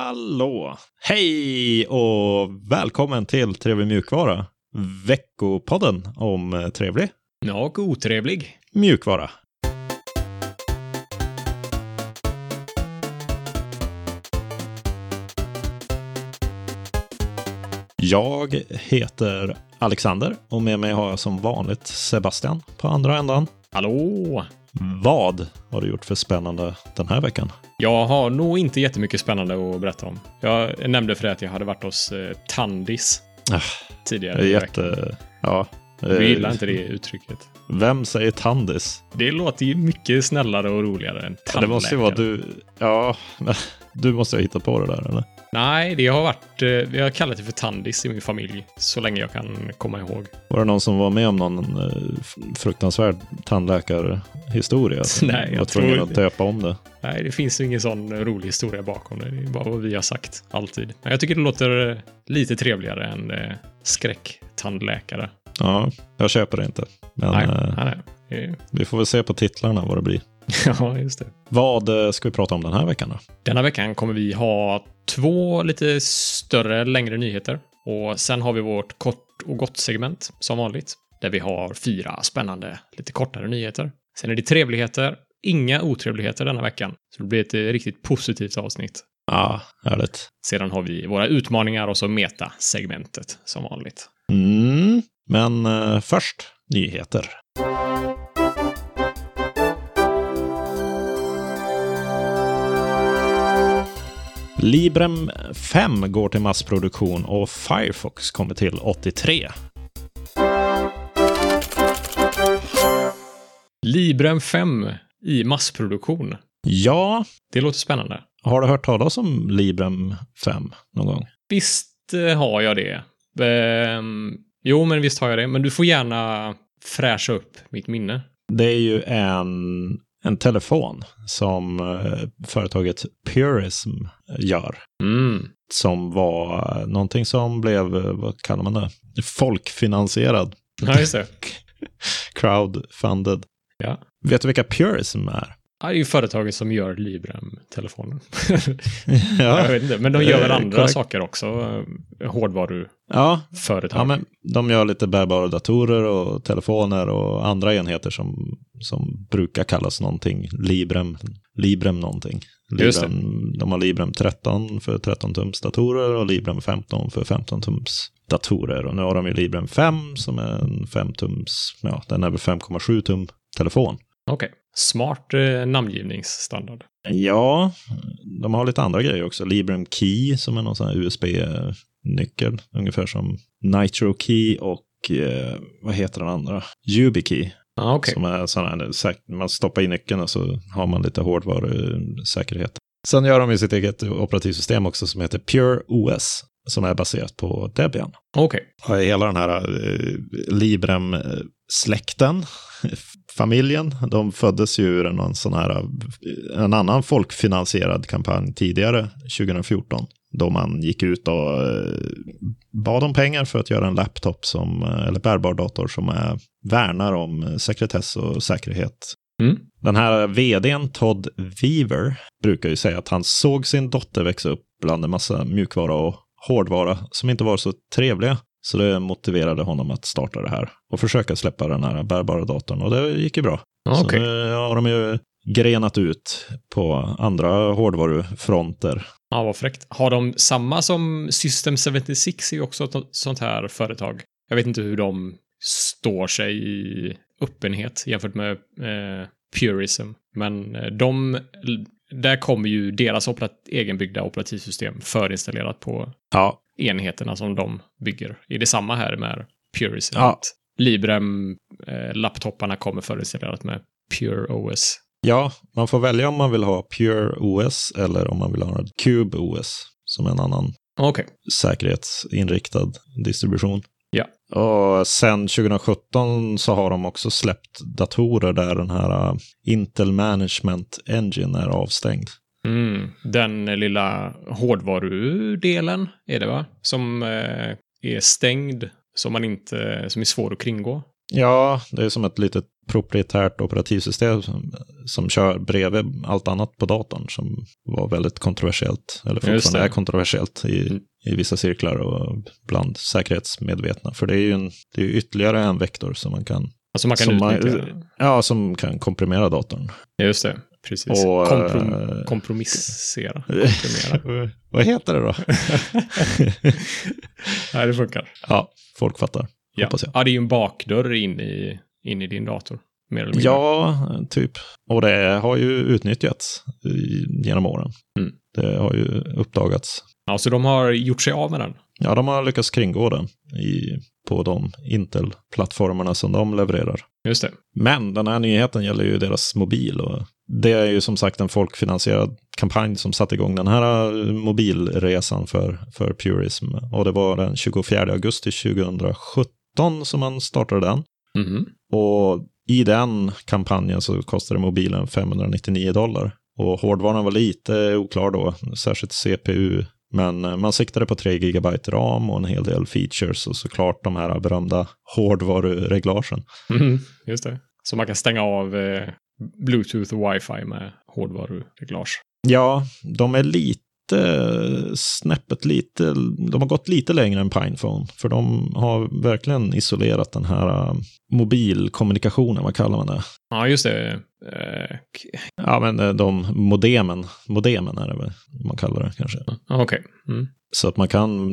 Hallå! Hej och välkommen till Trevlig mjukvara. Veckopodden om eh, trevlig Ja, och otrevlig. mjukvara. Jag heter Alexander och med mig har jag som vanligt Sebastian på andra ändan. Hallå! Vad har du gjort för spännande den här veckan? Jag har nog inte jättemycket spännande att berätta om. Jag nämnde för dig att jag hade varit hos eh, Tandis Ah, tidigare. Det är i veckan. jätte... Ja. Du eh, gillar inte det uttrycket. Vem säger tandis? Det låter ju mycket snällare och roligare än Ja, tandläkare. det måste ju vara du. Ja, men du måste ha hittat på det där eller? Nej, det har varit... eh, Jag har kallat det för Tandis i min familj så länge jag kan komma ihåg. Var det någon som var med om någon eh, f- fruktansvärd tandläkarhistoria? Som Nej, jag var tvungen tror att inte. döpa om det. Nej, det finns ju ingen sån rolig historia bakom det. Det är bara vad vi har sagt, alltid. Men jag tycker det låter eh, lite trevligare än eh, skräcktandläkare. Ja, jag köper det inte. Men Nej, eh, nej, nej. Eh, vi får väl se på titlarna vad det blir. Ja, just det. Vad eh, ska vi prata om den här veckan då? Denna veckan kommer vi ha två lite större, längre nyheter. Och sen har vi vårt kort och gott-segment, som vanligt. Där vi har fyra spännande, lite kortare nyheter. Sen är det trevligheter, inga otrevligheter denna veckan. Så det blir ett eh, riktigt positivt avsnitt. Ja, härligt. Sedan har vi våra utmaningar och så meta-segmentet, som vanligt. Mm, men eh, först nyheter. Librem 5 går till massproduktion och Firefox kommer till 83. Librem 5 i massproduktion. Ja, Det låter spännande. har du hört talas om Librem 5 någon gång? Visst eh, har jag det. Ehm, jo, men visst har jag det. Men du får gärna fräscha upp mitt minne. Det är ju en, en telefon som eh, företaget Purism gör. Mm. som var eh, någonting som blev, eh, vad kallar man det, folkfinansierad, Ja, just det. crowdfunded. Ja. Vet du vilka Purism är? Ja, Det är ju företaget som gör Librem-telefonen. jag ja. vet inte, men de gör väl Eh, andra korrekt. saker också. eh, Hårdvaruföretag. Ja, ja, men de gör lite bärbara datorer och telefoner och andra enheter som, som brukar kallas någonting, Librem, Librem någonting. Just det. Librem, de har Librem 13 för 13-tums datorer och Librem 15 för 15-tums datorer. Och nu har de ju Librem 5 som är en 5-tums, ja, den är väl 5,7 tum telefon. Okej. Smart eh, namngivningsstandard. Ja, de har lite andra grejer också. Librem Key som är någon sån här USB-nyckel. Ungefär som Nitro Key och eh, vad heter den andra? YubiKey. Ja, okej. Som är sån här, säk- man stoppar i nyckeln och så har man lite hårdvarusäkerhet. Sen gör de ju sitt eget operativsystem också som heter Pure OS. Som är baserat på Debian. Okej. Och hela den här eh, Librem-släkten, familjen, de föddes ju ur en, sån här, eh, en annan folkfinansierad kampanj tidigare, 2014. Då man gick ut och eh, bad om pengar för att göra en laptop, som, eh, eller bärbar dator, som är, värnar om eh, sekretess och säkerhet Mm. den här vdn Todd Weaver brukar ju säga att han såg sin dotter växa upp bland en massa mjukvara och hårdvara som inte var så trevliga. Så det motiverade honom att starta det här och försöka släppa den här bärbara datorn och det gick ju bra. Ja, Okej. Så nu har de ju grenat ut på andra hårdvarufronter. Ja, vad fräckt. Har de samma som System 76 är ju också ett sånt här företag. Jag vet inte hur de står sig i öppenhet jämfört med eh, Purism. Men eh, de, där kommer ju deras opera, egenbyggda operativsystem förinstallerat på Ja, enheterna som de bygger. Är det samma här med Purism? Ja. Att Librem-laptoparna kommer förinstallerat med Pure OS. ja, man får välja om man vill ha Pure OS eller om man vill ha Cube OS som är en annan Okej. säkerhetsinriktad distribution. Ja. Och sen 2017 så har de också släppt datorer där den här eh, Intel Management Engine är avstängd. Mm, den lilla hårdvarudelen är det va? Som eh, är stängd, som man inte, som är svår att kringgå. Ja, det är som ett litet proprietärt operativsystem som, som kör bredvid allt annat på datorn som var väldigt kontroversiellt, eller fortfarande det. är kontroversiellt i, Mm. i vissa cirklar och bland säkerhetsmedvetna. För det är ju en, det är ju ytterligare en vektor som man kan, Alltså man kan Som man- utnyttja. ja, ja, som kan komprimera datorn. just det. Precis. Och, Komprom- eh, kompromissera. Komprimera. Vad heter det då? Nej, det funkar. ja, folk fattar, Ja. hoppas jag. ja, det är ju en bakdörr in i, in i din dator. Mer eller mindre. Ja, typ. Och det har ju utnyttjats i- genom åren. Mm. Det har ju uppdagats. ja, så de har gjort sig av med den. Ja, de har lyckats kringgå den i, på de Intel-plattformarna som de levererar. Just det. Men den här nyheten gäller ju deras mobil. Och det är ju som sagt en folkfinansierad kampanj som satte igång den här eh, mobilresan för, för Purism. Och det var den 24 augusti 2017 som man startade den. Mhm. Och i den kampanjen så kostade mobilen 599 dollar. Och hårdvaran var lite oklar då, särskilt CPU. Men eh, man siktade på 3 GB ram och en hel del features och såklart de här berömda hårdvarureglagen. Mhm. Just det. Så man kan stänga av eh, Bluetooth och wifi med hårdvarureglage. Ja, de är lite snäppet lite, de har gått lite längre än Pinephone, för de har verkligen isolerat den här eh, mobilkommunikationen, vad kallar man det? Ja, just det. Eh, k- Ja, men eh, de modemen, modemen är det väl man kallar det kanske. ja, Okej. Mm. Så att man kan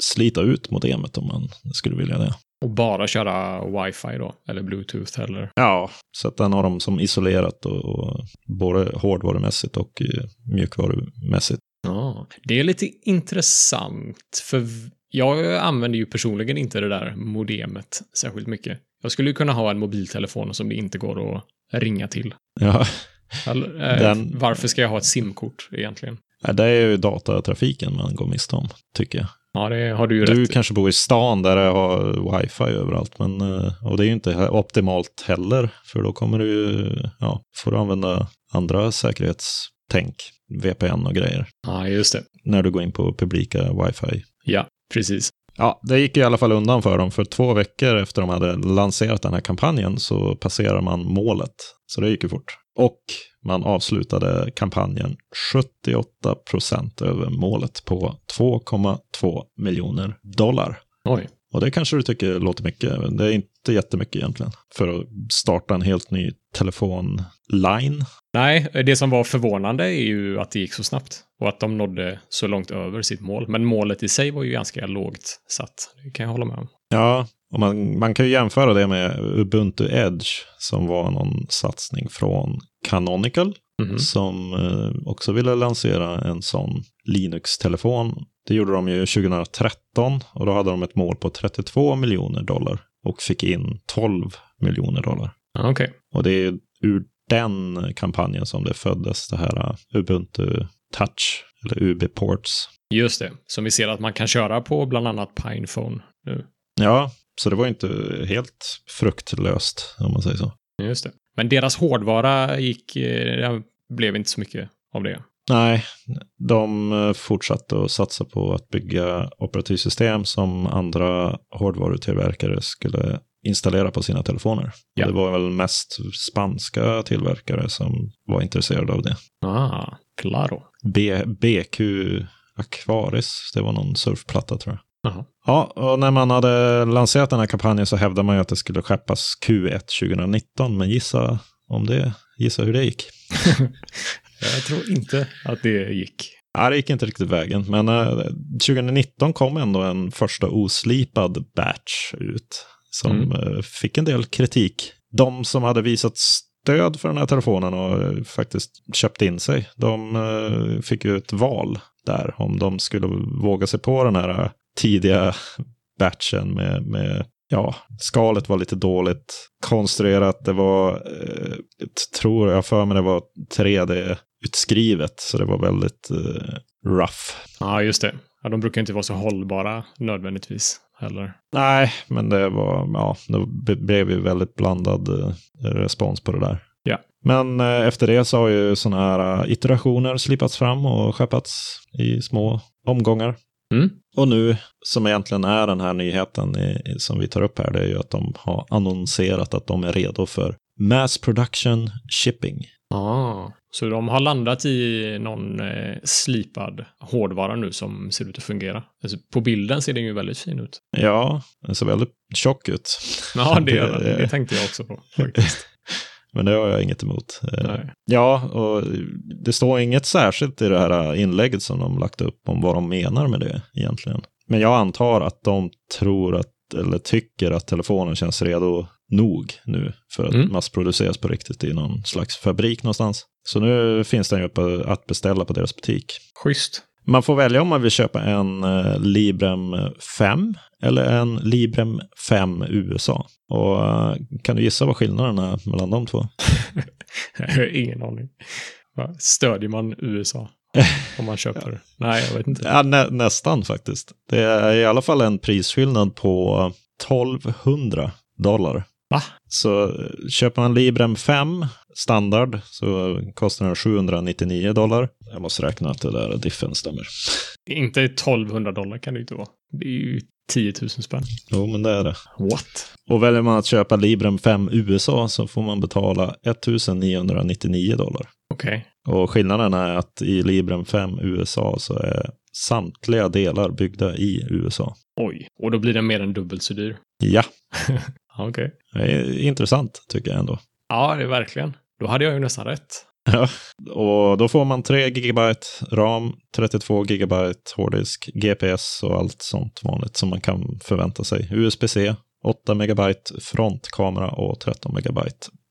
slita ut modemet om man skulle vilja det. Och bara köra wifi då, eller bluetooth eller? Ja. Så att den har de som isolerat och, och både hårdvarumässigt och eh, mjukvarumässigt. Ja. Det är lite intressant, för v- jag använder ju personligen inte det där modemet särskilt mycket. Jag skulle ju kunna ha en mobiltelefon som det inte går att ringa till. Ja, Eller, eh, Den- Varför ska jag ha ett simkort egentligen? äh, det är ju datatrafiken man går miste om, tycker jag. Ja, det har du ju Du rätt i. kanske bor i stan där det har wifi överallt, men, eh, och det är ju inte he- optimalt heller, för då kommer du ju, ja, får du använda andra säkerhetstänk, VPN och grejer, Ja, just det. när du går in på publika wifi Ja, precis. Ja, det gick ju i alla fall undan för dem, för två veckor efter de hade lanserat den här kampanjen så passerar man målet. Så det gick ju fort. Och man avslutade kampanjen 78 procent över målet på 2,2 miljoner dollar. Oj. Och det kanske du tycker låter mycket, men det är inte jättemycket egentligen. För att starta en helt ny telefonline. Nej, det som var förvånande är ju att det gick så snabbt och att de nådde så långt över sitt mål. Men målet i sig var ju ganska lågt satt. Det kan jag hålla med om. Ja, och man, man kan ju jämföra det med Ubuntu Edge som var någon satsning från Canonical. Mhm. som eh, också ville lansera en sån Linux-telefon. Det gjorde de ju 2013 och då hade de ett mål på 32 miljoner dollar och fick in 12 miljoner dollar. Ja, Okej. Och det är ur den kampanjen som det föddes det här eh, Ubuntu Touch, eller UB Ports. Just det. Som vi ser att man kan köra på bland annat Pinephone nu. Ja, så det var ju inte helt fruktlöst om man säger så. Just det. Men deras hårdvara gick... eh, Det blev inte så mycket av det. Nej, de eh, fortsatte att satsa på att bygga operativsystem som andra hårdvarutillverkare skulle installera på sina telefoner. Ja. Det var väl mest spanska tillverkare som var intresserade av det. Ah, claro. B BQ Aquaris, det var någon surfplatta tror jag. Jaha. Ja, och när man hade lanserat den här kampanjen så hävdade man ju att det skulle skeppas Q1 2019, men gissa om det, gissa hur det gick. Jag tror inte att det gick. Ja, det gick inte riktigt vägen, men eh, 2019 kom ändå en första oslipad batch ut som Mm. eh, fick en del kritik. De som hade visat stöd för den här telefonen och eh, faktiskt köpt in sig, de eh, fick ju ett val där om de skulle våga sig på den här eh, tidiga batchen med, med ja, skalet var lite dåligt konstruerat. Det var, eh, jag tror jag för mig det var 3D-utskrivet, så det var väldigt eh, rough. Ja, just det. Ja, de brukar inte vara så hållbara nödvändigtvis heller. Nej, men det var, ja, det b- blev ju väldigt blandad eh, respons på det där. Ja. Men eh, efter det så har ju sådana här eh, iterationer slipats fram och skeppats i små omgångar. Mm. Och nu, som egentligen är den här nyheten i, i- som vi tar upp här, det är ju att de har annonserat att de är redo för Mass production shipping. Ah. Så de har landat i någon eh, slipad hårdvara nu som ser ut att fungera. Alltså, på bilden ser den ju väldigt fin ut. Ja, den ser väldigt tjock ut. Ja, det, gör den. det tänkte jag också på. Faktiskt. Men det har jag inget emot. Eh, Nej. Ja, och det står inget särskilt i det här inlägget som de lagt upp om vad de menar med det egentligen. Men jag antar att de tror att, eller tycker att telefonen känns redo nog nu för att Mm. massproduceras på riktigt i någon slags fabrik någonstans. Så nu finns den ju på- att beställa på deras butik. Schysst. Man får välja om man vill köpa en eh, Librem 5 eller en Librem 5 USA. Och eh, kan du gissa vad skillnaden är mellan de två? Jag har ingen aning. Va? Stödjer man USA om man köper? Nej, jag vet inte. Ja, nä, nästan faktiskt. Det är i alla fall en prisskillnad på 1200 dollar. Va? Så eh, köper man Librem 5 standard så kostar den 799 dollar. Jag måste räkna att det där diffen stämmer. Inte 1200 dollar kan det ju inte vara. Det är ju 10 000 spänn. Jo, men det är det. What? Och väljer man att köpa Librem 5 USA så får man betala 1999 dollar. Okej. Och skillnaden är att i Librem 5 USA så är samtliga delar byggda i USA. Oj. Och då blir den mer än dubbelt så dyr. Ja, Ja, Okej. det är intressant tycker jag ändå. Ja, det är verkligen. Då hade jag ju nästan rätt. Och då får man 3 GB RAM, 32 GB hårddisk, GPS och allt sånt vanligt som man kan förvänta sig. USB-C, 8 MB frontkamera och 13 MB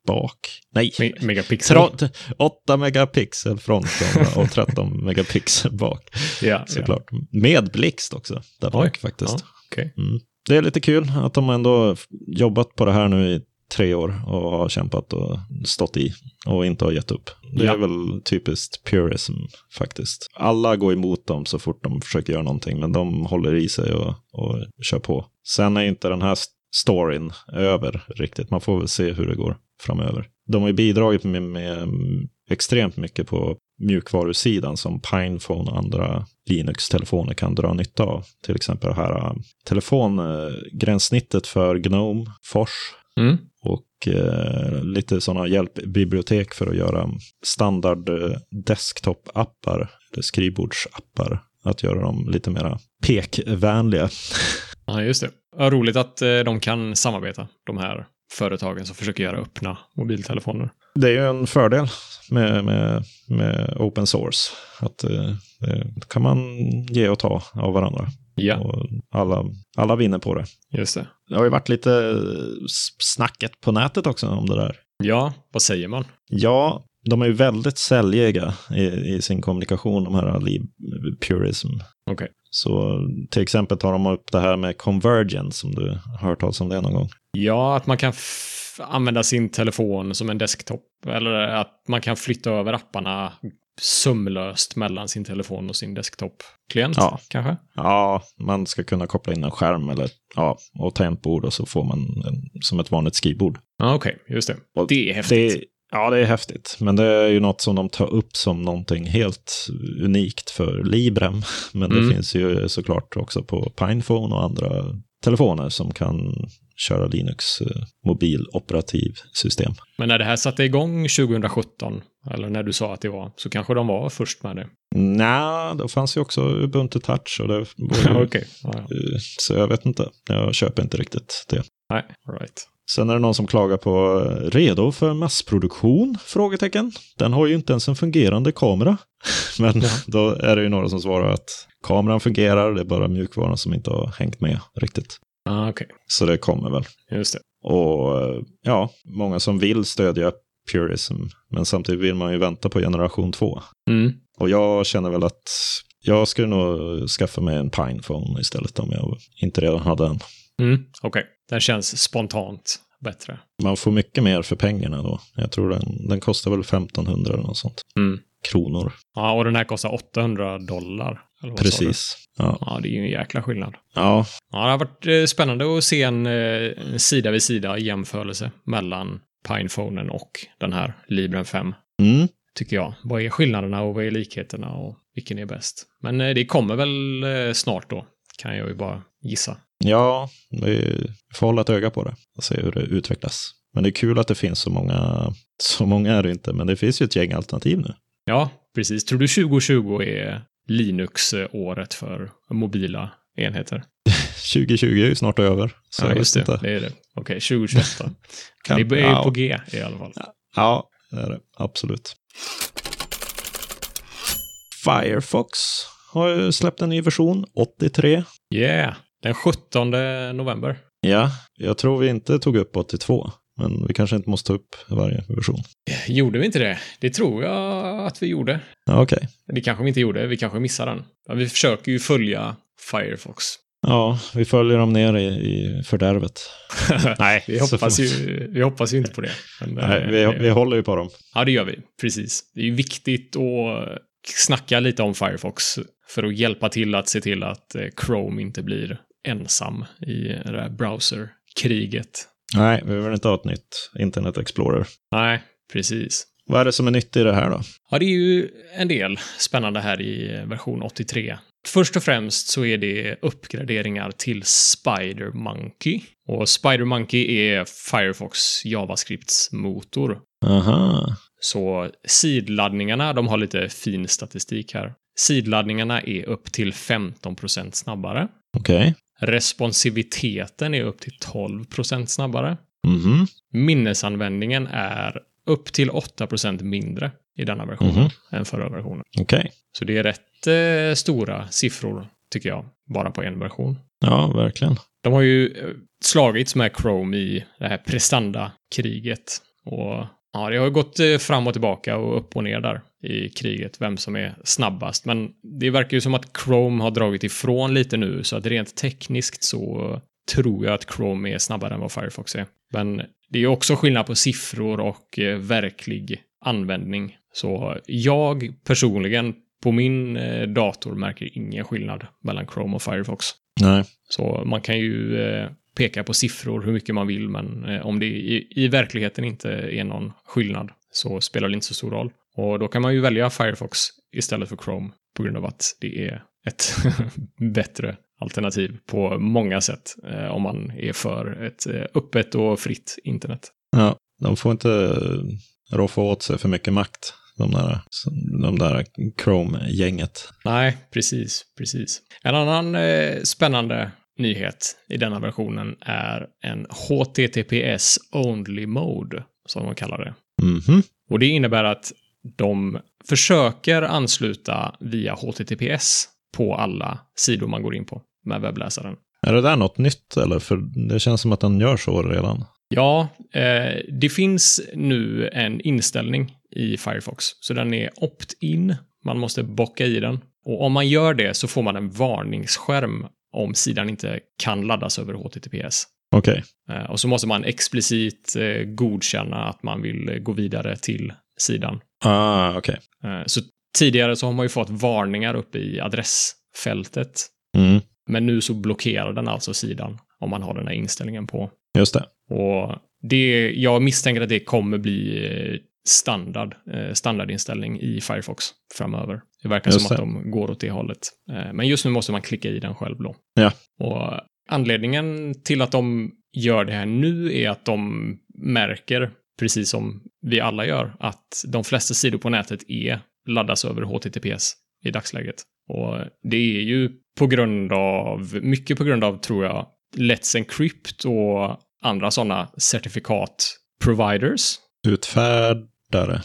bak. Nej, Me- megapixel. Tro- 8 megapixel frontkamera och 13 megapixel bak ja, ja. såklart. Med blixt också, där bak Oj, faktiskt. okej. Mm. Det är lite kul att de ändå jobbat på det här nu i tre år och har kämpat och stått i och inte har gett upp. Det Ja. är väl typiskt purism faktiskt. Alla går emot dem så fort de försöker göra någonting, men de håller i sig och, och kör på. Sen är inte den här st- storyn över riktigt. Man får väl se hur det går framöver. De har ju bidragit med, med extremt mycket på mjukvarusidan som Pinephone och andra Linux-telefoner kan dra nytta av. Till exempel det här äh, telefongränsnittet för Gnome, Fors Mm. och eh, lite sådana hjälpbibliotek för att göra standard eh, desktop-appar, eller skrivbordsappar, att göra dem lite mera pekvänliga. Ja, just det. Ja, roligt att eh, de kan samarbeta, de här företagen som försöker göra öppna mobiltelefoner. Det är ju en fördel med, med, med open source. Att eh, det kan man ge och ta av varandra. Ja, Och alla, alla vinner på det. just det. Det har ju varit lite eh, snacket på nätet också om det där. Ja, vad säger man? Ja, de är ju väldigt säljiga i, i sin kommunikation, de här lib- purism. Okej. Så till exempel tar de upp det här med convergence, som du har hört talas om det någon gång. Ja, att man kan f- använda sin telefon som en desktop. Eller att man kan flytta över apparna sömlöst mellan sin telefon och sin desktop-klient. Ja. kanske. Ja, man ska kunna koppla in en skärm eller, ja, och tangentbord och så får man en, som ett vanligt skrivbord. Ja, okej, just det. Och det är häftigt. Det, ja, det är häftigt. Men det är ju något som de tar upp som någonting helt unikt för Librem. Men det Mm. finns ju såklart också på Pinephone och andra telefoner som kan köra Linux eh, mobiloperativsystem. Men när det här satte igång 2017, eller när du sa att det var, så kanske de var först med det. Nej, då fanns ju också Ubuntu Touch och det var ju, okej. Ja, ja. eh, Så jag vet inte. Jag köper inte riktigt det. Nej, all right. Sen är det någon som klagar på eh, redo för massproduktion? Frågetecken. Den har ju inte ens en fungerande kamera. Men då är det ju några som svarar att kameran fungerar, det är bara mjukvaran som inte har hängt med riktigt. Ah, okej, Så det kommer väl. just det. Och eh, ja, många som vill stödja purism, men samtidigt vill man ju vänta på generation 2. Mm. Och jag känner väl att jag skulle nog skaffa mig en Pinephone istället om jag inte redan hade en. Mm. Okej, den känns spontant bättre. Man får mycket mer för pengarna då. Jag tror den, den kostar väl 1500 eller något sånt. Mm. Kronor. Ja, och den här kostar 800 dollar. Eller vad sa du? Precis. Ja. Ja, det är ju en jäkla skillnad. ja, Ja, det har varit eh, spännande att se en eh, sida vid sida jämförelse mellan Pinephonen och den här Libren 5, mm. tycker jag. Vad är skillnaderna och vad är likheterna och vilken är bäst? Men eh, det kommer väl eh, snart då, kan jag ju bara gissa. ja vi får hålla ett öga på det och se hur det utvecklas. Men det är kul att det finns så många, så många är det inte, men det finns ju ett gäng alternativ nu. Ja, precis. Tror du 2020 är Linux-året för mobila enheter? 2020 är ju snart över. Så ja, jag just vet det. Inte. Det är det. Okej, 2021 då. Kan- Det är ju ja. på G i alla fall. Ja, det är det. Absolut. Firefox har ju släppt en ny version, 83. Yeah! Den 17 november. Ja, jag tror vi inte tog upp 82, men vi kanske inte måste ta upp varje version. Gjorde vi inte det? Det tror jag att vi gjorde. Ja, Okej. Det kanske vi inte gjorde. Vi kanske missade den. Men vi försöker ju följa Firefox. Ja, vi följer dem ner i, i fördärvet. Nej, Vi så hoppas, får- ju, vi hoppas ju inte på det. Men, Nej, eh, vi, vi håller ju på dem. Ja, det gör vi. Precis. Det är ju viktigt att snacka lite om Firefox för att hjälpa till att se till att eh, Chrome inte blir ensam i det här browserkriget. Nej, vi vill inte ha ett nytt Internet Explorer. Nej, precis. Vad är det som är nytt i det här då? Ja, det är ju en del spännande här i version 83. Först och främst så är det uppgraderingar till Spider Monkey. Och Spider Monkey är Firefox JavaScripts motor. Aha. Så sidladdningarna, de har lite fin statistik här. Sidladdningarna är upp till 15 snabbare. Okej. Responsiviteten är upp till 12 snabbare. Mhm. Minnesanvändningen är upp till 8 mindre i denna versionen Mhm. än förra versionen. Okej. Så det är rätt eh, stora siffror, tycker jag, bara på en version. Ja, verkligen. De har ju eh, slagits med Chrome i det här prestandakriget. Och ja, det har ju gått eh, fram och tillbaka och upp och ner där i kriget, vem som är snabbast. Men det verkar ju som att Chrome har dragit ifrån lite nu, så att rent tekniskt så tror jag att Chrome är snabbare än vad Firefox är. Men det är ju också skillnad på siffror och eh, verklig användning. Så jag personligen på min eh, dator märker ingen skillnad mellan Chrome och Firefox. Nej. Så man kan ju eh, peka på siffror hur mycket man vill, men eh, om det i, i verkligheten inte är någon skillnad så spelar det inte så stor roll. Och då kan man ju välja Firefox istället för Chrome på grund av att det är ett bättre alternativ på många sätt eh, om man är för ett eh, öppet och fritt internet. Ja, de får inte eh, roffa åt sig för mycket makt, de där, de där Chrome-gänget. Nej, precis, precis. En annan eh, spännande nyhet i denna versionen är en HTTPS Only Mode, som de kallar det. Mhm. Och det innebär att de försöker ansluta via HTTPS på alla sidor man går in på med webbläsaren. Är det där något nytt eller? För det känns som att den gör så redan. Ja, eh, det finns nu en inställning i Firefox, så den är opt-in. Man måste bocka i den. Och om man gör det så får man en varningsskärm om sidan inte kan laddas över HTTPS. Okej. Eh, Och så måste man explicit eh, godkänna att man vill eh, gå vidare till sidan. Ah, okej. Eh, Så tidigare så har man ju fått varningar uppe i adressfältet. Mm. Men nu så blockerar den alltså sidan om man har den här inställningen på. Just det. Och det, jag misstänker att det kommer bli eh, standard, eh, standardinställning i Firefox framöver. Det verkar Just som att det. de går åt det hållet. Eh, Men just nu måste man klicka i den själv då. Ja. Och anledningen till att de gör det här nu är att de märker, precis som vi alla gör, att de flesta sidor på nätet är laddas över HTTPS i dagsläget. Och det är ju på grund av, mycket på grund av tror jag, Let's Encrypt och andra sådana certifikat providers. Utfärdare.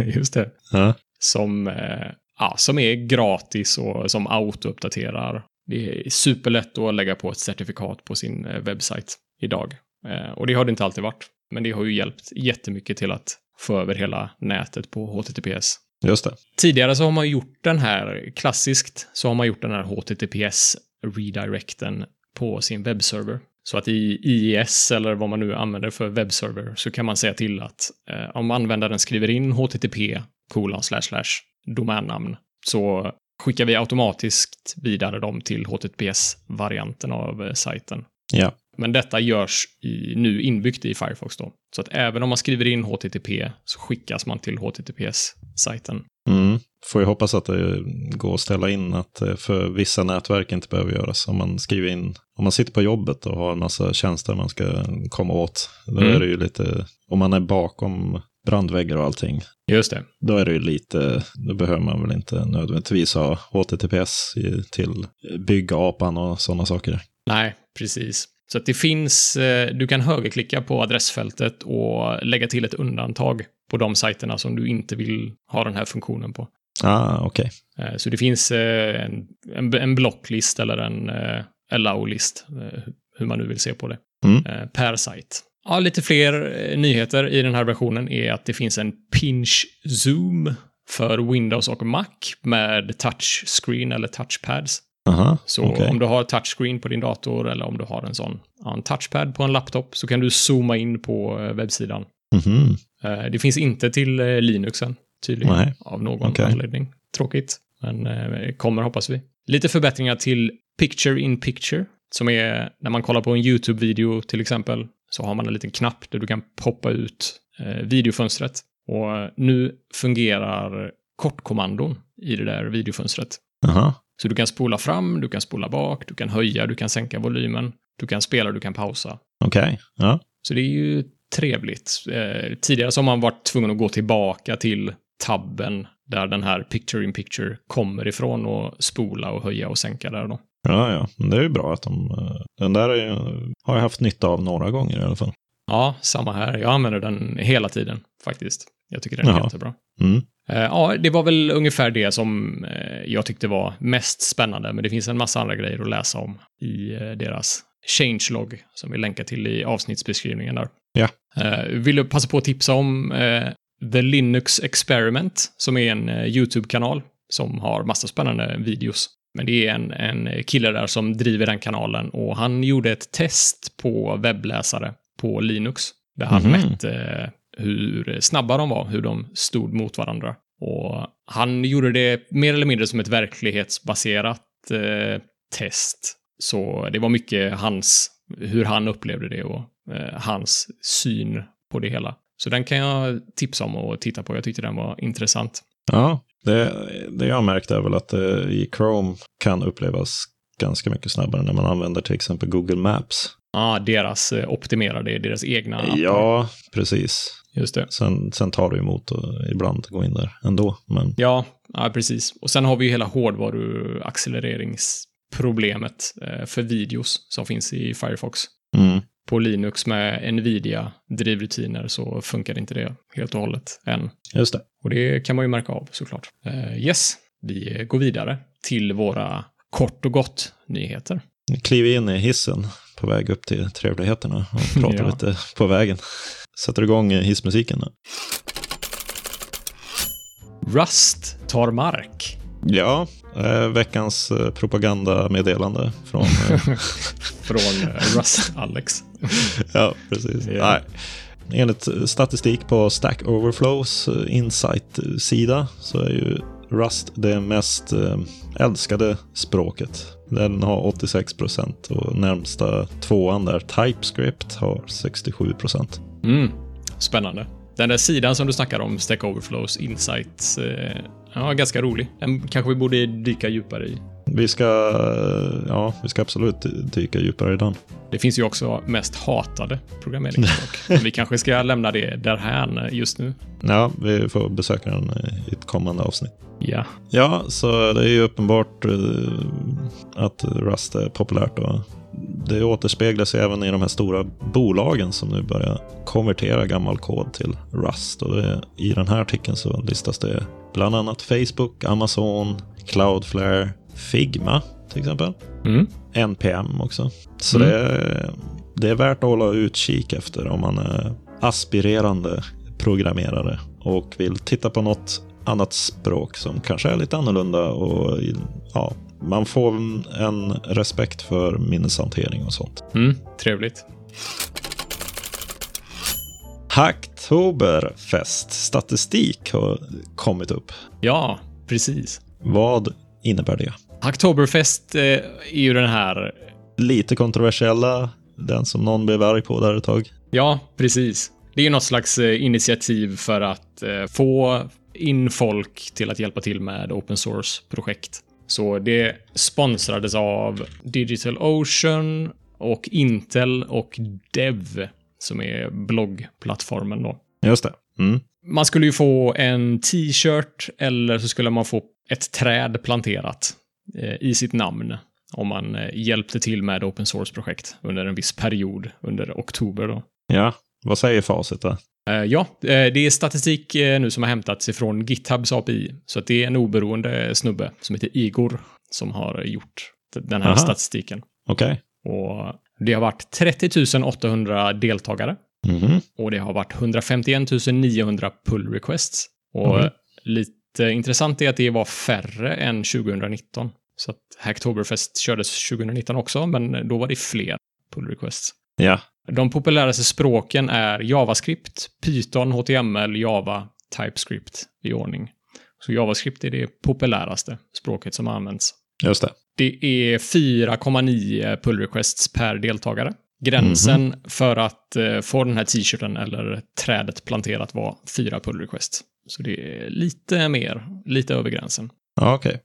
Just det. Ja. Som, eh, ja, som är gratis och som autouppdaterar. Det är superlätt att lägga på ett certifikat på sin eh, webbsajt idag. Eh, och det har det inte alltid varit. Men det har ju hjälpt jättemycket till att få över hela nätet på HTTPS. Just det. Tidigare så har man gjort den här, klassiskt, så har man gjort den här HTTPS redirecten på sin webbserver. Så att i IES eller vad man nu använder för webbserver så kan man säga till att eh, om användaren skriver in HTTP kolon slash slash domännamn så skickar vi automatiskt vidare dem till HTTPS-varianten av eh, sajten. Ja. Men detta görs i, nu inbyggt i Firefox då. Så att även om man skriver in HTTP så skickas man till HTTPS-sajten. Mm. Får ju hoppas att det går att ställa in att eh, för vissa nätverk inte behöver göras. Om man skriver in, om man sitter på jobbet och har en massa tjänster man ska komma åt, då Mm. är det ju lite, om man är bakom brandväggar och allting, Just det. då är det ju lite, då behöver man väl inte nödvändigtvis ha HTTPS i- till byggapan och sådana saker. Nej, precis. Så att det finns, eh, du kan högerklicka på adressfältet och lägga till ett undantag på de sajterna som du inte vill ha den här funktionen på. Ah, okej. Eh, Så det finns eh, en, en, en blocklist eller en eh, allow-list, eh, hur man nu vill se på det, Mm. eh, per sajt. Ja, lite fler eh, nyheter i den här versionen är att det finns en pinch zoom för Windows och Mac med touchscreen eller touchpads. Aha, Så okej. om du har touchscreen på din dator eller om du har en sån ja, en touchpad på en laptop så kan du zooma in på eh, webbsidan. Mhm. Eh, Det finns inte till eh, Linuxen tydligen Nej. av någon Okej. anledning. Tråkigt, men eh, kommer hoppas vi. Lite förbättringar till Picture in Picture som är när man kollar på en YouTube-video till exempel så har man en liten knapp där du kan poppa ut eh, videofönstret. Och eh, nu fungerar kortkommandon i det där videofönstret. Aha. Så du kan spola fram, du kan spola bak, du kan höja, du kan sänka volymen, du kan spela, du kan pausa. Okej, ja. Så det är ju trevligt. Eh, tidigare så har man varit tvungen att gå tillbaka till tabben där den här picture in picture kommer ifrån och spola och höja och sänka där då. Ja, ja. Men Det är ju bra att de... eh, Den där är ju, har jag haft nytta av några gånger i alla fall. Ja, samma här. Jag använder den hela tiden faktiskt. Jag tycker den är Jaha. jättebra. Mm. Eh, Ja, det var väl ungefär det som eh, jag tyckte var mest spännande, men det finns en massa andra grejer att läsa om i eh, deras changelog som vi länkar till i avsnittsbeskrivningen där. Ja. Eh, Vill jag passa på att tipsa om eh, The Linux Experiment som är en eh, YouTube-kanal som har massa spännande videos. Men det är en, en kille där som driver den kanalen och han gjorde ett test på webbläsare på Linux där han Mhm. mätte eh, hur snabba de var, hur de stod mot varandra. Och han gjorde det mer eller mindre som ett verklighetsbaserat eh, test. Så det var mycket hans, hur han upplevde det och eh, hans syn på det hela. Så den kan jag tipsa om och titta på. Jag tyckte den var intressant. Ja, det, det jag har märkt är väl att det i Chrome kan upplevas ganska mycket snabbare när man använder till exempel Google Maps. Ja, ah, deras eh, optimerade, deras egna appar. Ja, precis. Just det. Sen, sen tar det emot och ibland gå in där ändå. Men Ja, ja, precis. Och sen har vi ju hela hårdvaruaccelereringsproblemet eh, för videos som finns i Firefox. mm, På Linux med Nvidia-drivrutiner så funkar inte det helt och hållet än. just det. Och det kan man ju märka av såklart. Eh, yes, vi går vidare till våra kort och gott nyheter. Kliv in i hissen på väg upp till trevligheterna och prata Ja. lite på vägen. Sätter igång hissmusiken nu. Rust tar mark. Ja, eh, veckans eh, propagandameddelande från... eh, Från eh, Rust-Alex. ja, precis. Ja. Nej. Enligt eh, statistik på Stack Overflows eh, Insight-sida så är ju Rust det mest eh, älskade språket. Den har 86 procent och närmsta tvåan där, TypeScript, har 67 procent. Mm, spännande. Den där sidan som du snackar om, Stack Overflows Insights, eh, ja, ganska rolig. Den kanske vi borde dyka djupare i. Vi ska, eh, ja, vi ska absolut dyka djupare i den. Det finns ju också mest hatade programmeringsspråk. Men vi kanske ska lämna det därhän just nu. Ja, vi får besöka den eh, i ett kommande avsnitt. Ja. Ja, så det är ju uppenbart eh, att Rust är populärt. Och det återspeglas ju även i de här stora bolagen som nu börjar konvertera gammal kod till Rust. Och det, I den här artikeln så listas det bland annat Facebook, Amazon, Cloudflare, Figma till exempel. Mm. NPM också. Så Mm. det, det är värt att hålla utkik efter om man är aspirerande programmerare och vill titta på något annat språk som kanske är lite annorlunda. Och ja, man får en- en respekt för minneshantering och sånt. Mm. Trevligt. Hacktoberfest statistik har kommit upp. Ja, precis. Vad innebär det? Hacktoberfest eh, är ju den här Lite kontroversiella Den som någon blev arg på där ett tag. Ja, precis. Det är ju något slags eh, initiativ för att eh, få in folk till att hjälpa till med open source-projekt. Så det sponsrades av Digital Ocean och Intel och Dev, som är bloggplattformen då. Just det. Mm. Man skulle ju få en t-shirt eller så skulle man få ett träd planterat eh, i sitt namn om man eh, hjälpte till med open source-projekt under en viss period under oktober. Då. Ja, vad säger facit då? Eh, Ja, eh, det är statistik eh, nu som har hämtats ifrån GitHubs API. Så att det är en oberoende snubbe som heter Igor som har gjort d- den här Aha. statistiken. Okej. Och det har varit 30 800 deltagare Mhm. och det har varit 151 900 pull requests. Och Mhm. lite intressant är att det var färre än 2019. Så att Hacktoberfest kördes 2019 också, men då var det fler pull requests. Ja, De populäraste språken är JavaScript, Python, HTML, Java, TypeScript i ordning. Så JavaScript är det populäraste språket som används. just det. Det är 4,9 pull requests per deltagare. Gränsen för att eh, få den här t-shirten eller trädet planterat var 4 pull requests. Så det är lite mer, lite över gränsen. Ja, Okej.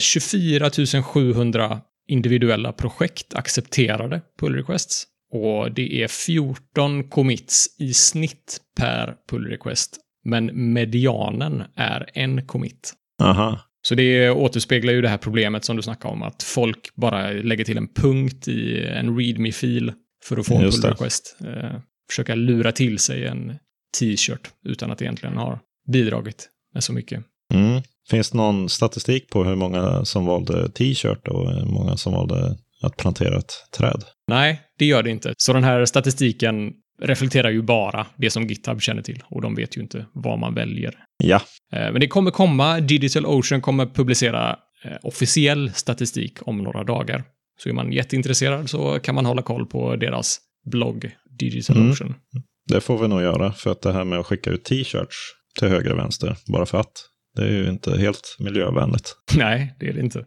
24 700 individuella projekt accepterade pull requests. Och det är 14 commits i snitt per pull request. Men medianen är en commit. Aha. Så det återspeglar ju det här problemet som du snackade om, att folk bara lägger till en punkt i en readme-fil för att få en Just pull det. request. Eh, försöka lura till sig en t-shirt utan att egentligen ha bidragit med så mycket. Mm. Finns det någon statistik på hur många som valde t-shirt och hur många som valde att plantera ett träd? Nej, det gör det inte. Så den här statistiken reflekterar ju bara det som GitHub känner till och de vet ju inte vad man väljer. Ja. Eh, Men det kommer komma. Digital Ocean kommer publicera eh, officiell statistik om några dagar. Så är man jätteintresserad så kan man hålla koll på deras blogg Digital Mm. Ocean. Det får vi nog göra, för att det här med att skicka ut t-shirts till höger och vänster, bara för att, det är ju inte helt miljövänligt. Nej, det är det inte.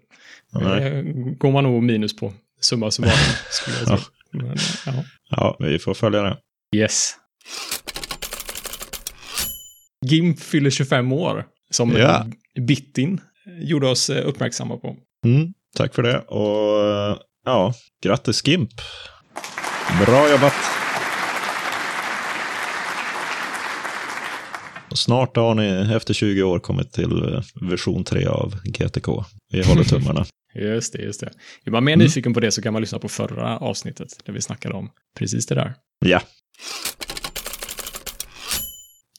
Nej. Det går man nog minus på. Summa summarum skulle jag Ja. tro. Men, ja. Ja, vi får följa det. Yes. GIMP fyller 25 år, som Ja. Bittin gjorde oss eh, uppmärksamma på. Mm, tack för det, och ja, grattis Gimp! Bra jobbat! Och snart har ni efter 20 år kommit till eh, version 3 av GTK. Vi håller tummarna. Just det, just det. Är man mer Mm. nyfiken på det så kan man lyssna på förra avsnittet där vi snackade om precis det där. Ja.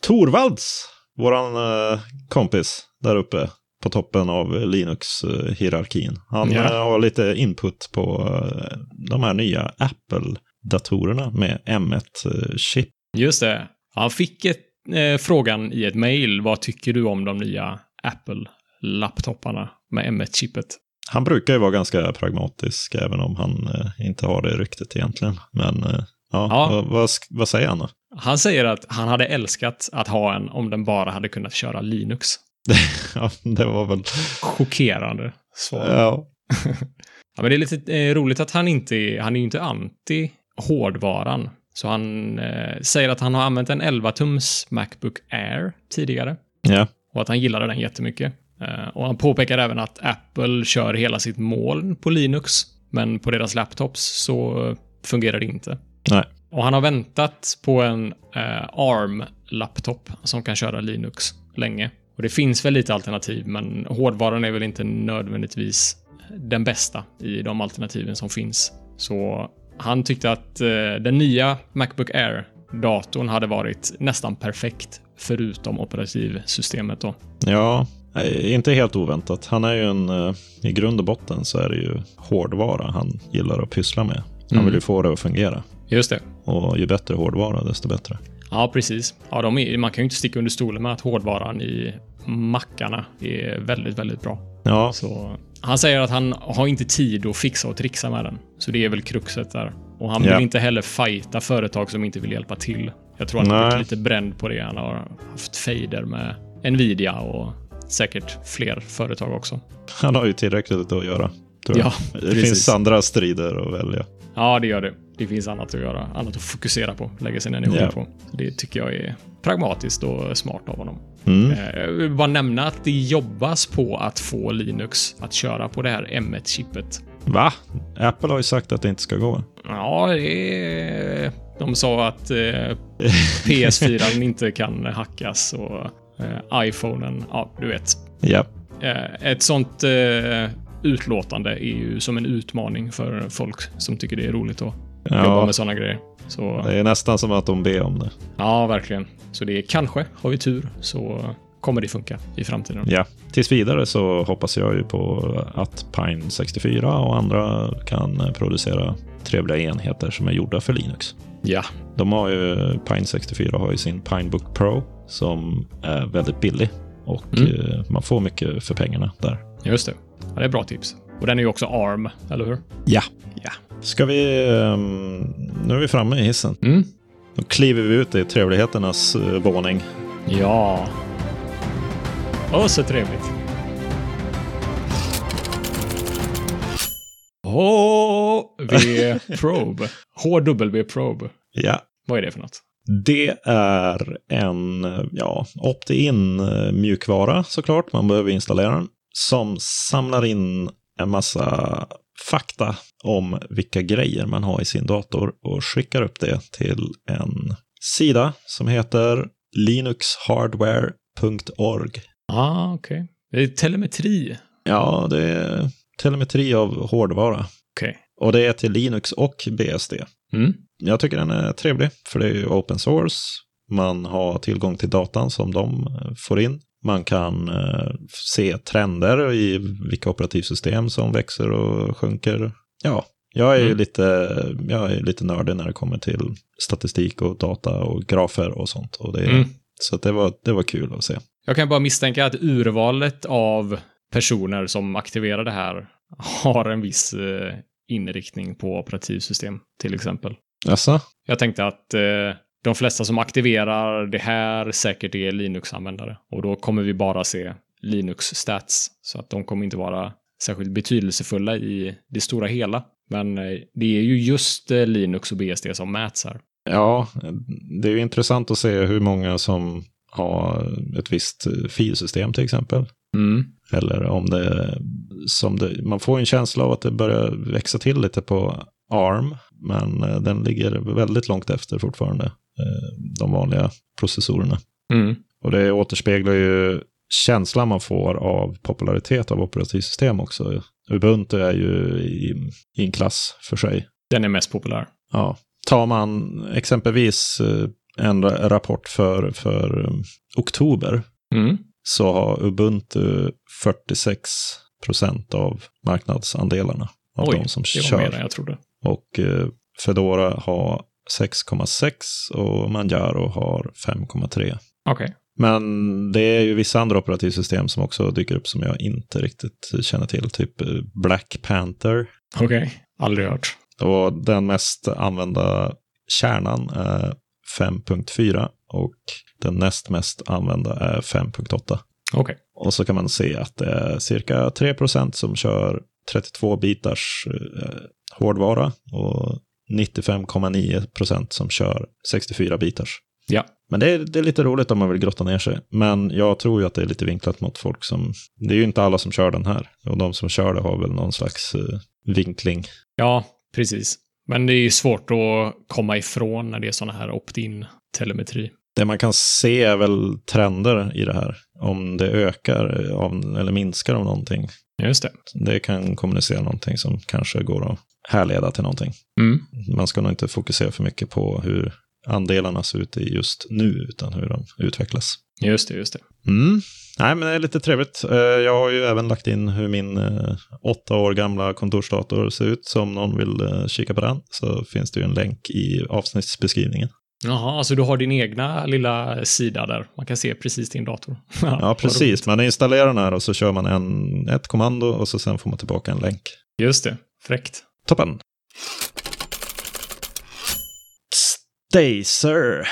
Torvalds, våran eh, kompis där uppe på toppen av Linux-hierarkin. Han Ja. eh, har lite input på eh, de här nya Apple-datorerna med eh, M1-chip. Just det. Han fick ett, eh, frågan i ett mejl. Vad tycker du om de nya Apple-laptoparna med M1-chippet? Han brukar ju vara ganska pragmatisk, även om han eh, inte har det ryktet egentligen. Men eh, ja, Ja. Vad, vad, sk- vad säger han då? Han säger att han hade älskat att ha en om den bara hade kunnat köra Linux. ja, det var väl... Chockerande svar. Ja, Ja, men det är lite eh, roligt att han inte är, han är ju inte anti hårdvaran. Så han eh, säger att han har använt en 11-tums Macbook Air tidigare ja. och att han gillade den jättemycket. Eh, och han påpekar även att Apple kör hela sitt moln på Linux, men på deras laptops så eh, fungerar det inte. Nej. Och han har väntat på en eh, ARM-laptop som kan köra Linux länge. Och det finns väl lite alternativ, men hårdvaran är väl inte nödvändigtvis den bästa i de alternativen som finns. Så han tyckte att eh, den nya Macbook Air-datorn hade varit nästan perfekt, förutom operativsystemet då. Ja, eh, inte helt oväntat. Han är ju en, eh, i grund och botten så är det ju hårdvara han gillar att pyssla med. Han Mm. vill ju få det att fungera. Just det. Och ju bättre hårdvara, desto bättre. Ja, precis. Ja, de är, man kan ju inte sticka under stolen med att hårdvaran i mackarna är väldigt, väldigt bra. Ja, Så han säger att han har inte tid att fixa och trixa med den. Så det är väl kruxet där. Och han Ja. vill inte heller fighta företag som inte vill hjälpa till. Jag tror han har Nej. blivit lite bränd på det. Han har haft fejder med Nvidia och säkert fler företag också. han har ju tillräckligt att göra. tror jag. Ja, det precis. finns andra strider att välja. Ja, det gör det. det finns annat att göra, annat att fokusera på, lägga sin energi Ja. på. Så det tycker jag är pragmatiskt och smart av honom. Mm. Eh, Jag vill bara nämna att det jobbas på att få Linux att köra på det här M1-chippet. Va? Apple har ju sagt att det inte ska gå. Ja, det är... De sa att eh, PS4 inte kan hackas och eh, iPhonen, ja, du vet. Ja. Eh, ett sånt eh, utlåtande är ju som en utmaning för folk som tycker det är roligt att jobba ja. med sådana grejer. Så Det är nästan som att de ber om det. ja, verkligen. Så det är kanske, har vi tur, så kommer det funka i framtiden. Ja. Tills vidare så hoppas jag ju på att Pine 64 och andra kan producera trevliga enheter som är gjorda för Linux. Ja, De har ju, Pine 64 har ju sin Pinebook Pro som är väldigt billig och Mm. eh, man får mycket för pengarna där. just det. Ja, det är bra tips. Och den är ju också ARM, eller hur? Ja. Ja. Ska vi... ehm, Nu är vi framme i hissen. Mm. Då kliver vi ut i trevligheternas eh, våning. Ja. Åh, så trevligt. HV Probe. HW Probe. Ja. Vad är det för något? Det är en ja, opt-in eh, mjukvara såklart. Man behöver installera den. Som samlar in en massa fakta om vilka grejer man har i sin dator och skickar upp det till en sida som heter linuxhardware.org. Ah, okej. Det är telemetri. Ja, det är telemetri av hårdvara. Okej. Och det är till Linux och BSD. Mm. Jag tycker den är trevlig, för det är ju open source. Man har tillgång till datan som de eh, får in. Man kan eh, se trender i vilka operativsystem som växer och sjunker. Ja, jag är ju Mm. lite, jag är lite nördig när det kommer till statistik och data och grafer och sånt. Och det, Mm. Så att det, var, det var kul att se. Jag kan bara misstänka att urvalet av personer som aktiverar det här har en viss eh, inriktning på operativsystem, till exempel. Jaså? Jag tänkte att eh, de flesta som aktiverar det här säkert är Linux-användare. Och då kommer vi bara se Linux-stats. Så att de kommer inte vara särskilt betydelsefulla i det stora hela. Men eh, det är ju just eh, Linux och BSD som mäts här. Ja, det är ju intressant att se hur många som har ett visst eh, filsystem till exempel. Mm, Eller om det, som det, man får en känsla av att det börjar växa till lite på ARM, men eh, den ligger väldigt långt efter fortfarande, eh, de vanliga processorerna. Mm. Och det återspeglar ju känslan man får av popularitet av operativsystem också. Ubuntu är ju i, i en klass för sig. Den är mest populär. Ja. Tar man exempelvis eh, en ra- rapport för, för eh, oktober Mm. så har Ubuntu 46 procent av marknadsandelarna av Oj, de som Det kör. var mer än jag trodde. Och eh, Fedora har 6,6 och Manjaro har 5,3. Okej. Men det är ju vissa andra operativsystem som också dyker upp som jag inte riktigt känner till, typ eh, Black Panther. Okej. Aldrig hört. Och den mest använda kärnan är 5.4 och den näst mest använda är 5.8. Okej. Och så kan man se att det är cirka 3 som kör 32-bitars eh, hårdvara och 95,9 som kör 64-bitars. Ja. Men det är, det är lite roligt om man vill grotta ner sig. Men jag tror ju att det är lite vinklat mot folk som... Det är ju inte alla som kör den här. Och de som kör det har väl någon slags eh, vinkling. Ja, precis. Men det är ju svårt att komma ifrån när det är sådana här opt-in telemetri. Det man kan se är väl trender i det här. Om det ökar eh, av, eller minskar av någonting. Just det. Det kan kommunicera någonting som kanske går att härleda till någonting. Mm. man ska nog inte fokusera för mycket på hur andelarna ser ut i just nu, utan hur de utvecklas. Just det, just det. Mm. Nej, men det är lite trevligt. Eh, Jag har ju även lagt in hur min eh, åtta år gamla kontorsdator ser ut, så om någon vill eh, kika på den så finns det ju en länk i avsnittsbeskrivningen. Jaha, så du har din egna lilla sida där. Man kan se precis din dator. Ja, precis. Man installerar den här och så kör man en, ett kommando och så sen får man tillbaka en länk. Just det. Fräckt. Toppen! Stacer,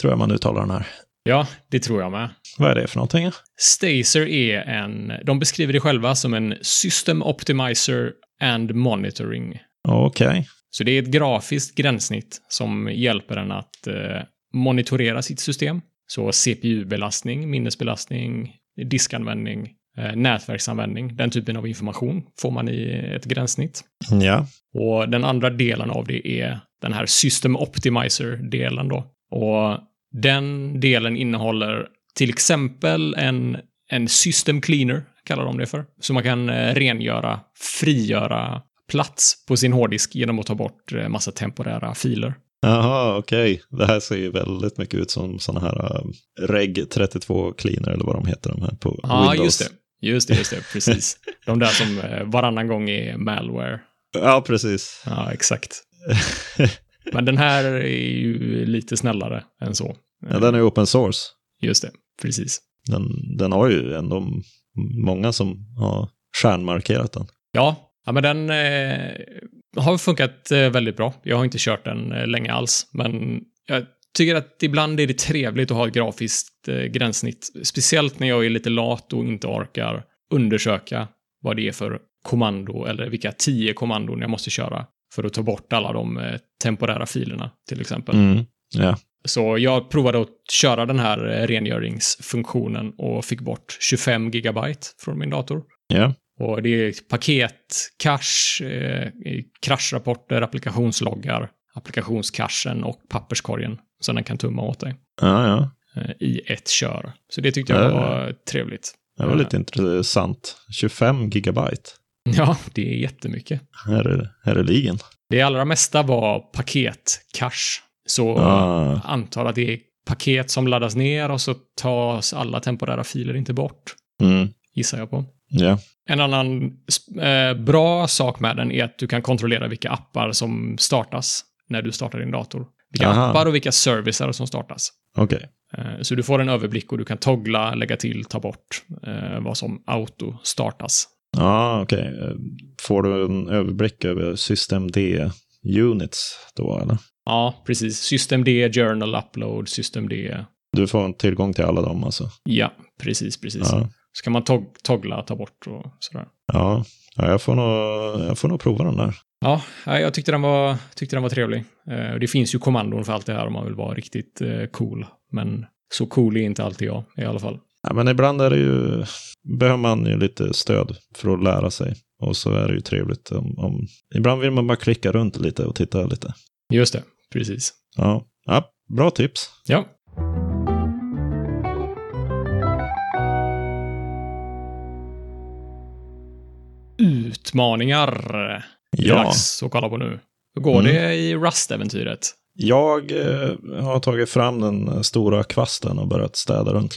tror jag man uttalar den här. Ja, det tror jag med. Vad är det för någonting? Stacer är en... De beskriver det själva som en System Optimizer and Monitoring. Okej. Så det är ett grafiskt gränssnitt som hjälper en att eh, monitorera sitt system. Så CPU-belastning, minnesbelastning, diskanvändning, eh, nätverksanvändning, den typen av information får man i ett gränssnitt. Ja, Och den andra delen av det är den här System Optimizer-delen då. Och den delen innehåller till exempel en, en System Cleaner, kallar de det för. Så man kan eh, rengöra, frigöra plats på sin hårddisk genom att ta bort eh, massa temporära filer. jaha, okej. Det här ser ju väldigt mycket ut som sådana här um, Reg 32 Cleaner eller vad de heter de här på Ja, ah, Windows. just det. Just det, just det, precis. De där som eh, varannan gång är malware. Ja, precis. Ja, exakt. Men den här är ju lite snällare än så. Ja, den är ju open source. Just det, precis. Den, den har ju ändå m- många som har stjärnmarkerat den. Ja, ja men den eh, har funkat eh, väldigt bra. Jag har inte kört den eh, länge alls, men jag tycker att ibland är det trevligt att ha ett grafiskt eh, gränssnitt. Speciellt när jag är lite lat och inte orkar undersöka vad det är för kommando eller vilka tio kommandon jag måste köra för att ta bort alla de eh, temporära filerna till exempel. Mm. Ja. Så jag provade att köra den här eh, rengöringsfunktionen och fick bort 25 gigabyte från min dator. ja, Och det är paket, cache, eh, kraschrapporter, applikationsloggar, applikationscachen och papperskorgen som den kan tumma åt dig ja, ja. eh, i ett kör. Så det tyckte jag Ja. var trevligt. Det var lite intressant. 25 gigabyte. Eh, Ja, det är jättemycket. Här är, här är ligen. Det allra mesta var paket, cache. Så Ah. antar att det är paket som laddas ner och så tas alla temporära filer inte bort, Mm. gissar jag på. Ja. En annan sp- eh, bra sak med den är att du kan kontrollera vilka appar som startas när du startar din dator. Vilka Aha. appar och vilka servicer som startas. Okej. Eh, Så du får en överblick och du kan toggla, lägga till, ta bort eh, vad som auto startas. Ja, Ah, okej. Får du en överblick över System D Units då, eller? Ja, precis. System D, Journal, Upload, System D. Du får en tillgång till alla dem alltså? Ja, precis, precis. Ja. Så kan man tog- toggla, ta bort och sådär. Ja, ja jag, får nog, jag får nog prova den där. Ja, nej, jag tyckte den var, tyckte den var trevlig. Eh, och Det finns ju kommandon för allt det här om man vill vara riktigt eh, cool. Men så cool är inte alltid jag i alla fall. Ja, men ibland är det ju, behöver man ju lite stöd för att lära sig. Och så är det ju trevligt om, om... Ibland vill man bara klicka runt lite och titta lite. Just det, precis. Ja, ja bra tips. Ja. Utmaningar. Det är Ja, dags att kolla på nu. Hur går Mm. det i Rust-äventyret? jag eh, har tagit fram den stora kvasten och börjat städa runt,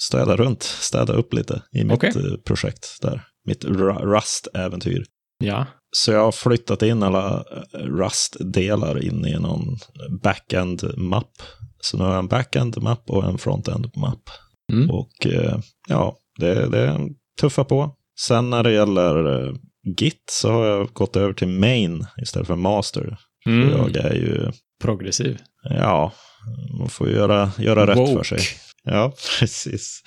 städa runt, städa upp lite i mitt Okej. eh, projekt där. Mitt Ru- Rust-äventyr. Ja. Så jag har flyttat in alla eh, Rust-delar in i någon backend-mapp. Så nu har jag en backend-mapp och en frontend-mapp. Mm. Och eh, ja, det, det tuffar på. Sen när det gäller eh, Git så har jag gått över till main istället för master. Mm. Jag är ju, Progressiv. ja, man får ju göra, göra rätt för Woke. sig. Ja, precis.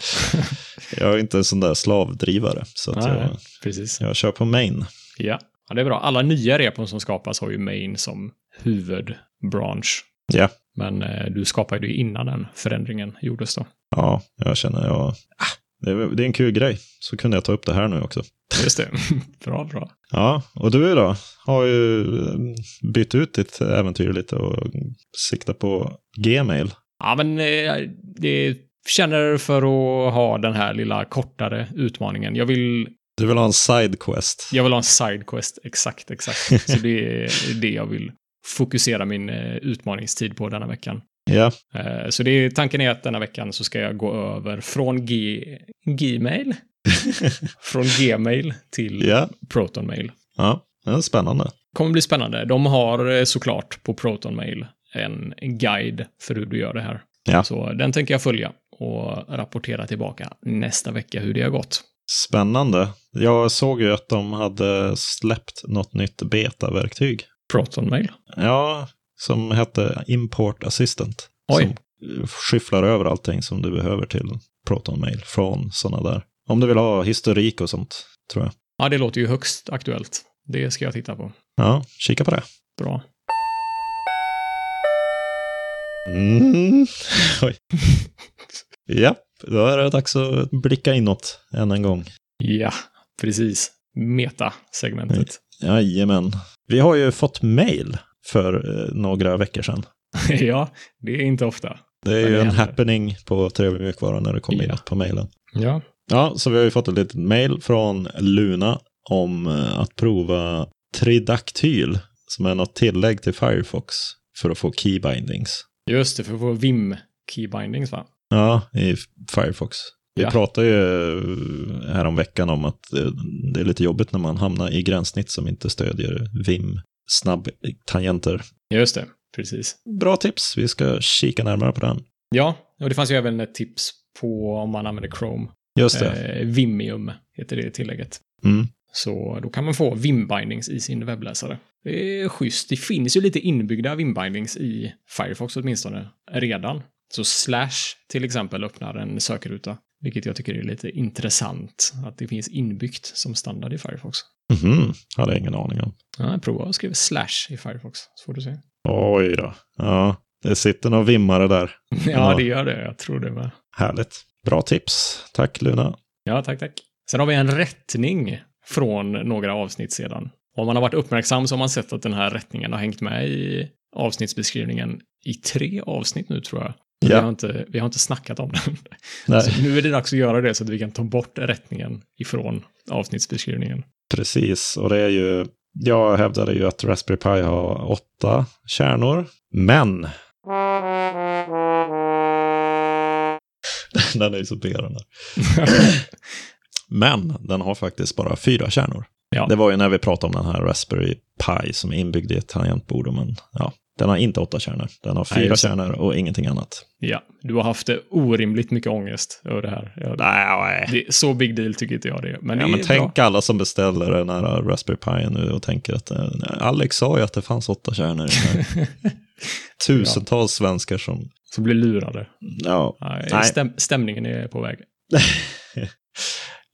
jag är inte en sån där slavdrivare, så att Nej, jag, precis. jag kör på main. Ja. ja, det är bra. Alla nya repon som skapas har ju main som huvudbransch. Ja. Men eh, du skapade ju innan den förändringen gjordes då. Ja, jag känner jag... Ah, Det är, det är en kul grej. Så kunde jag ta upp det här nu också. Just det. bra, bra. Ja, och du då? Har ju eh, bytt ut ditt äventyr lite och siktar på Gmail. Ja, men eh, det känner för att ha den här lilla kortare utmaningen. Jag vill, Du vill ha en sidequest? jag vill ha en sidequest, exakt, exakt. Så det är det jag vill fokusera min eh, utmaningstid på denna veckan. Ja, Eh, Så det är, tanken är att denna veckan så ska jag gå över från G, Gmail, från Gmail till ja, Protonmail. ja. Det är spännande. kommer bli spännande. De har eh, såklart på Proton Mail en guide för hur du gör det här. Ja. Så den tänker jag följa och rapportera tillbaka nästa vecka hur det har gått. Spännande. Jag såg ju att de hade släppt något nytt betaverktyg. Proton Mail. Ja, som hette Import Assistant. Oj. Som eh, skyfflar över allting som du behöver till Proton Mail från sådana där. Om du vill ha historik och sånt, tror jag. Ja, det låter ju högst aktuellt. Det ska jag titta på. Ja, kika på det. Bra. Mm. Oj. ja, då är det dags att blicka inåt än en gång. Ja, precis. Meta-segmentet. Jajamän. Vi har ju fått mail för eh, några veckor sedan. ja, det är inte ofta. Det är det ju en händer. happening på Trevlig mjukvara när det kommer in Ja. något på mailen. Ja. Ja, så vi har ju fått ett litet mail från Luna om eh, att prova Tridactyl, som är något tillägg till Firefox för att få keybindings. Just det, för att få VIM keybindings va? Ja, i Firefox. Vi Ja. pratade ju här om veckan om att eh, det är lite jobbigt när man hamnar i gränssnitt som inte stödjer Vim snabbtangenter. Just det, precis. Bra tips, vi ska kika närmare på den. Ja, och det fanns ju även ett tips på om man använder Chrome. Just det. Eh, Vimium heter det tillägget. Mm. Så då kan man få Vim-bindings i sin webbläsare. Det är schysst. Det finns ju lite inbyggda Vim-bindings i Firefox åtminstone redan. Så slash till exempel öppnar en sökruta, vilket jag tycker är lite intressant att det finns inbyggt som standard i Firefox. Mhm, hade jag ingen aning om. Ja, prova och skriv slash i Firefox, så får du se. Oj då. Ja, det sitter några vimmare där. Ja, det gör det. Jag tror det med. Härligt. Bra tips. Tack Luna. Ja, tack, tack. Sen har vi en rättning från några avsnitt sedan. Om man har varit uppmärksam så har man sett att den här rättningen har hängt med i avsnittsbeskrivningen i tre avsnitt nu tror jag. Men Ja. Vi, har inte, vi har inte snackat om den. Nej, Så nu är det dags att göra det så att vi kan ta bort rättningen ifrån avsnittsbeskrivningen. precis. Och det är ju, jag hävdade ju att Raspberry Pi har åtta kärnor. Men. den är ju så B den där. Men den har faktiskt bara fyra kärnor. Ja. Det var ju när vi pratade om den här Raspberry Pi som är inbyggd i ett tangentbord. Men ja, den har inte åtta kärnor. Den har Nej, fyra just det. kärnor och ingenting annat. ja, du har haft orimligt mycket ångest över det här. Jag, Nej, det, är- så big deal tycker inte jag det är. Men det Ja, men är tänk bra. alla som beställer den här äh, Raspberry Pi nu och tänker att eh, Alex sa ju att det fanns åtta kärnor. i den här. Tusentals svenskar som... Så blir lurade. Ja. Nej, Nej. Stäm, stämningen är på väg.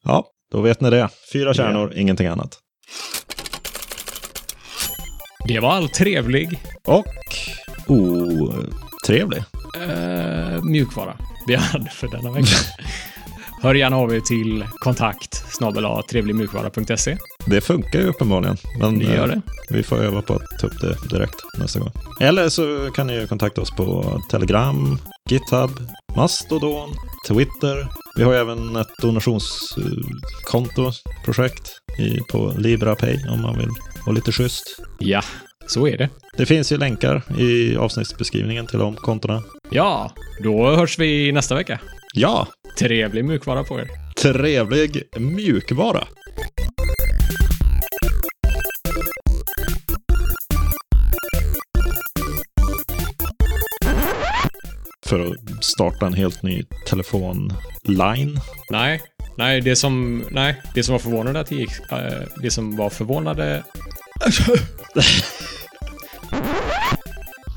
ja, då vet ni det. Fyra kärnor, ingenting annat. Det var allt trevlig Och oh, otrevlig. eh, mjukvara vi hade för denna vecka. Hör gärna av er till kontakt snabel-a trevligmjukvara.se. Det funkar ju uppenbarligen. Men Det gör eh, det. vi får öva på att ta upp det direkt nästa gång. Eller så kan ni ju kontakta oss på Telegram, GitHub, Mastodon, Twitter. Vi har ju även ett donationskonto, projekt i, på LibraPay om man vill och lite schysst. Ja, så är det. Det finns ju länkar i avsnittsbeskrivningen till de kontona. Ja, då hörs vi nästa vecka. Ja, Trevlig mjukvara på er. trevlig mjukvara. För att starta en helt ny telefonline. Nej, nej, det som, nej, det som var förvånande att det gick, eh, det som var förvånade,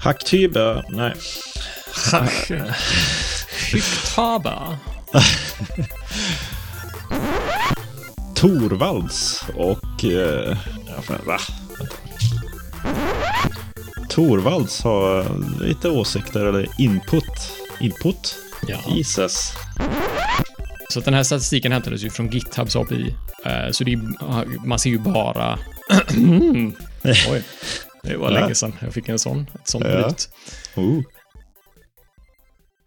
Hacktybe, nej. Hyktaba. Torvalds och... Eh, ja, fan, va? Vänta. Torvalds har lite åsikter eller input. Input? Ja. Jesus. Så att den här statistiken hämtades ju från GitHubs API. Eh, Så det är, man ser ju bara... Oj, det var länge sedan jag fick en sån. Ett sånt Ja. bryt. Oh.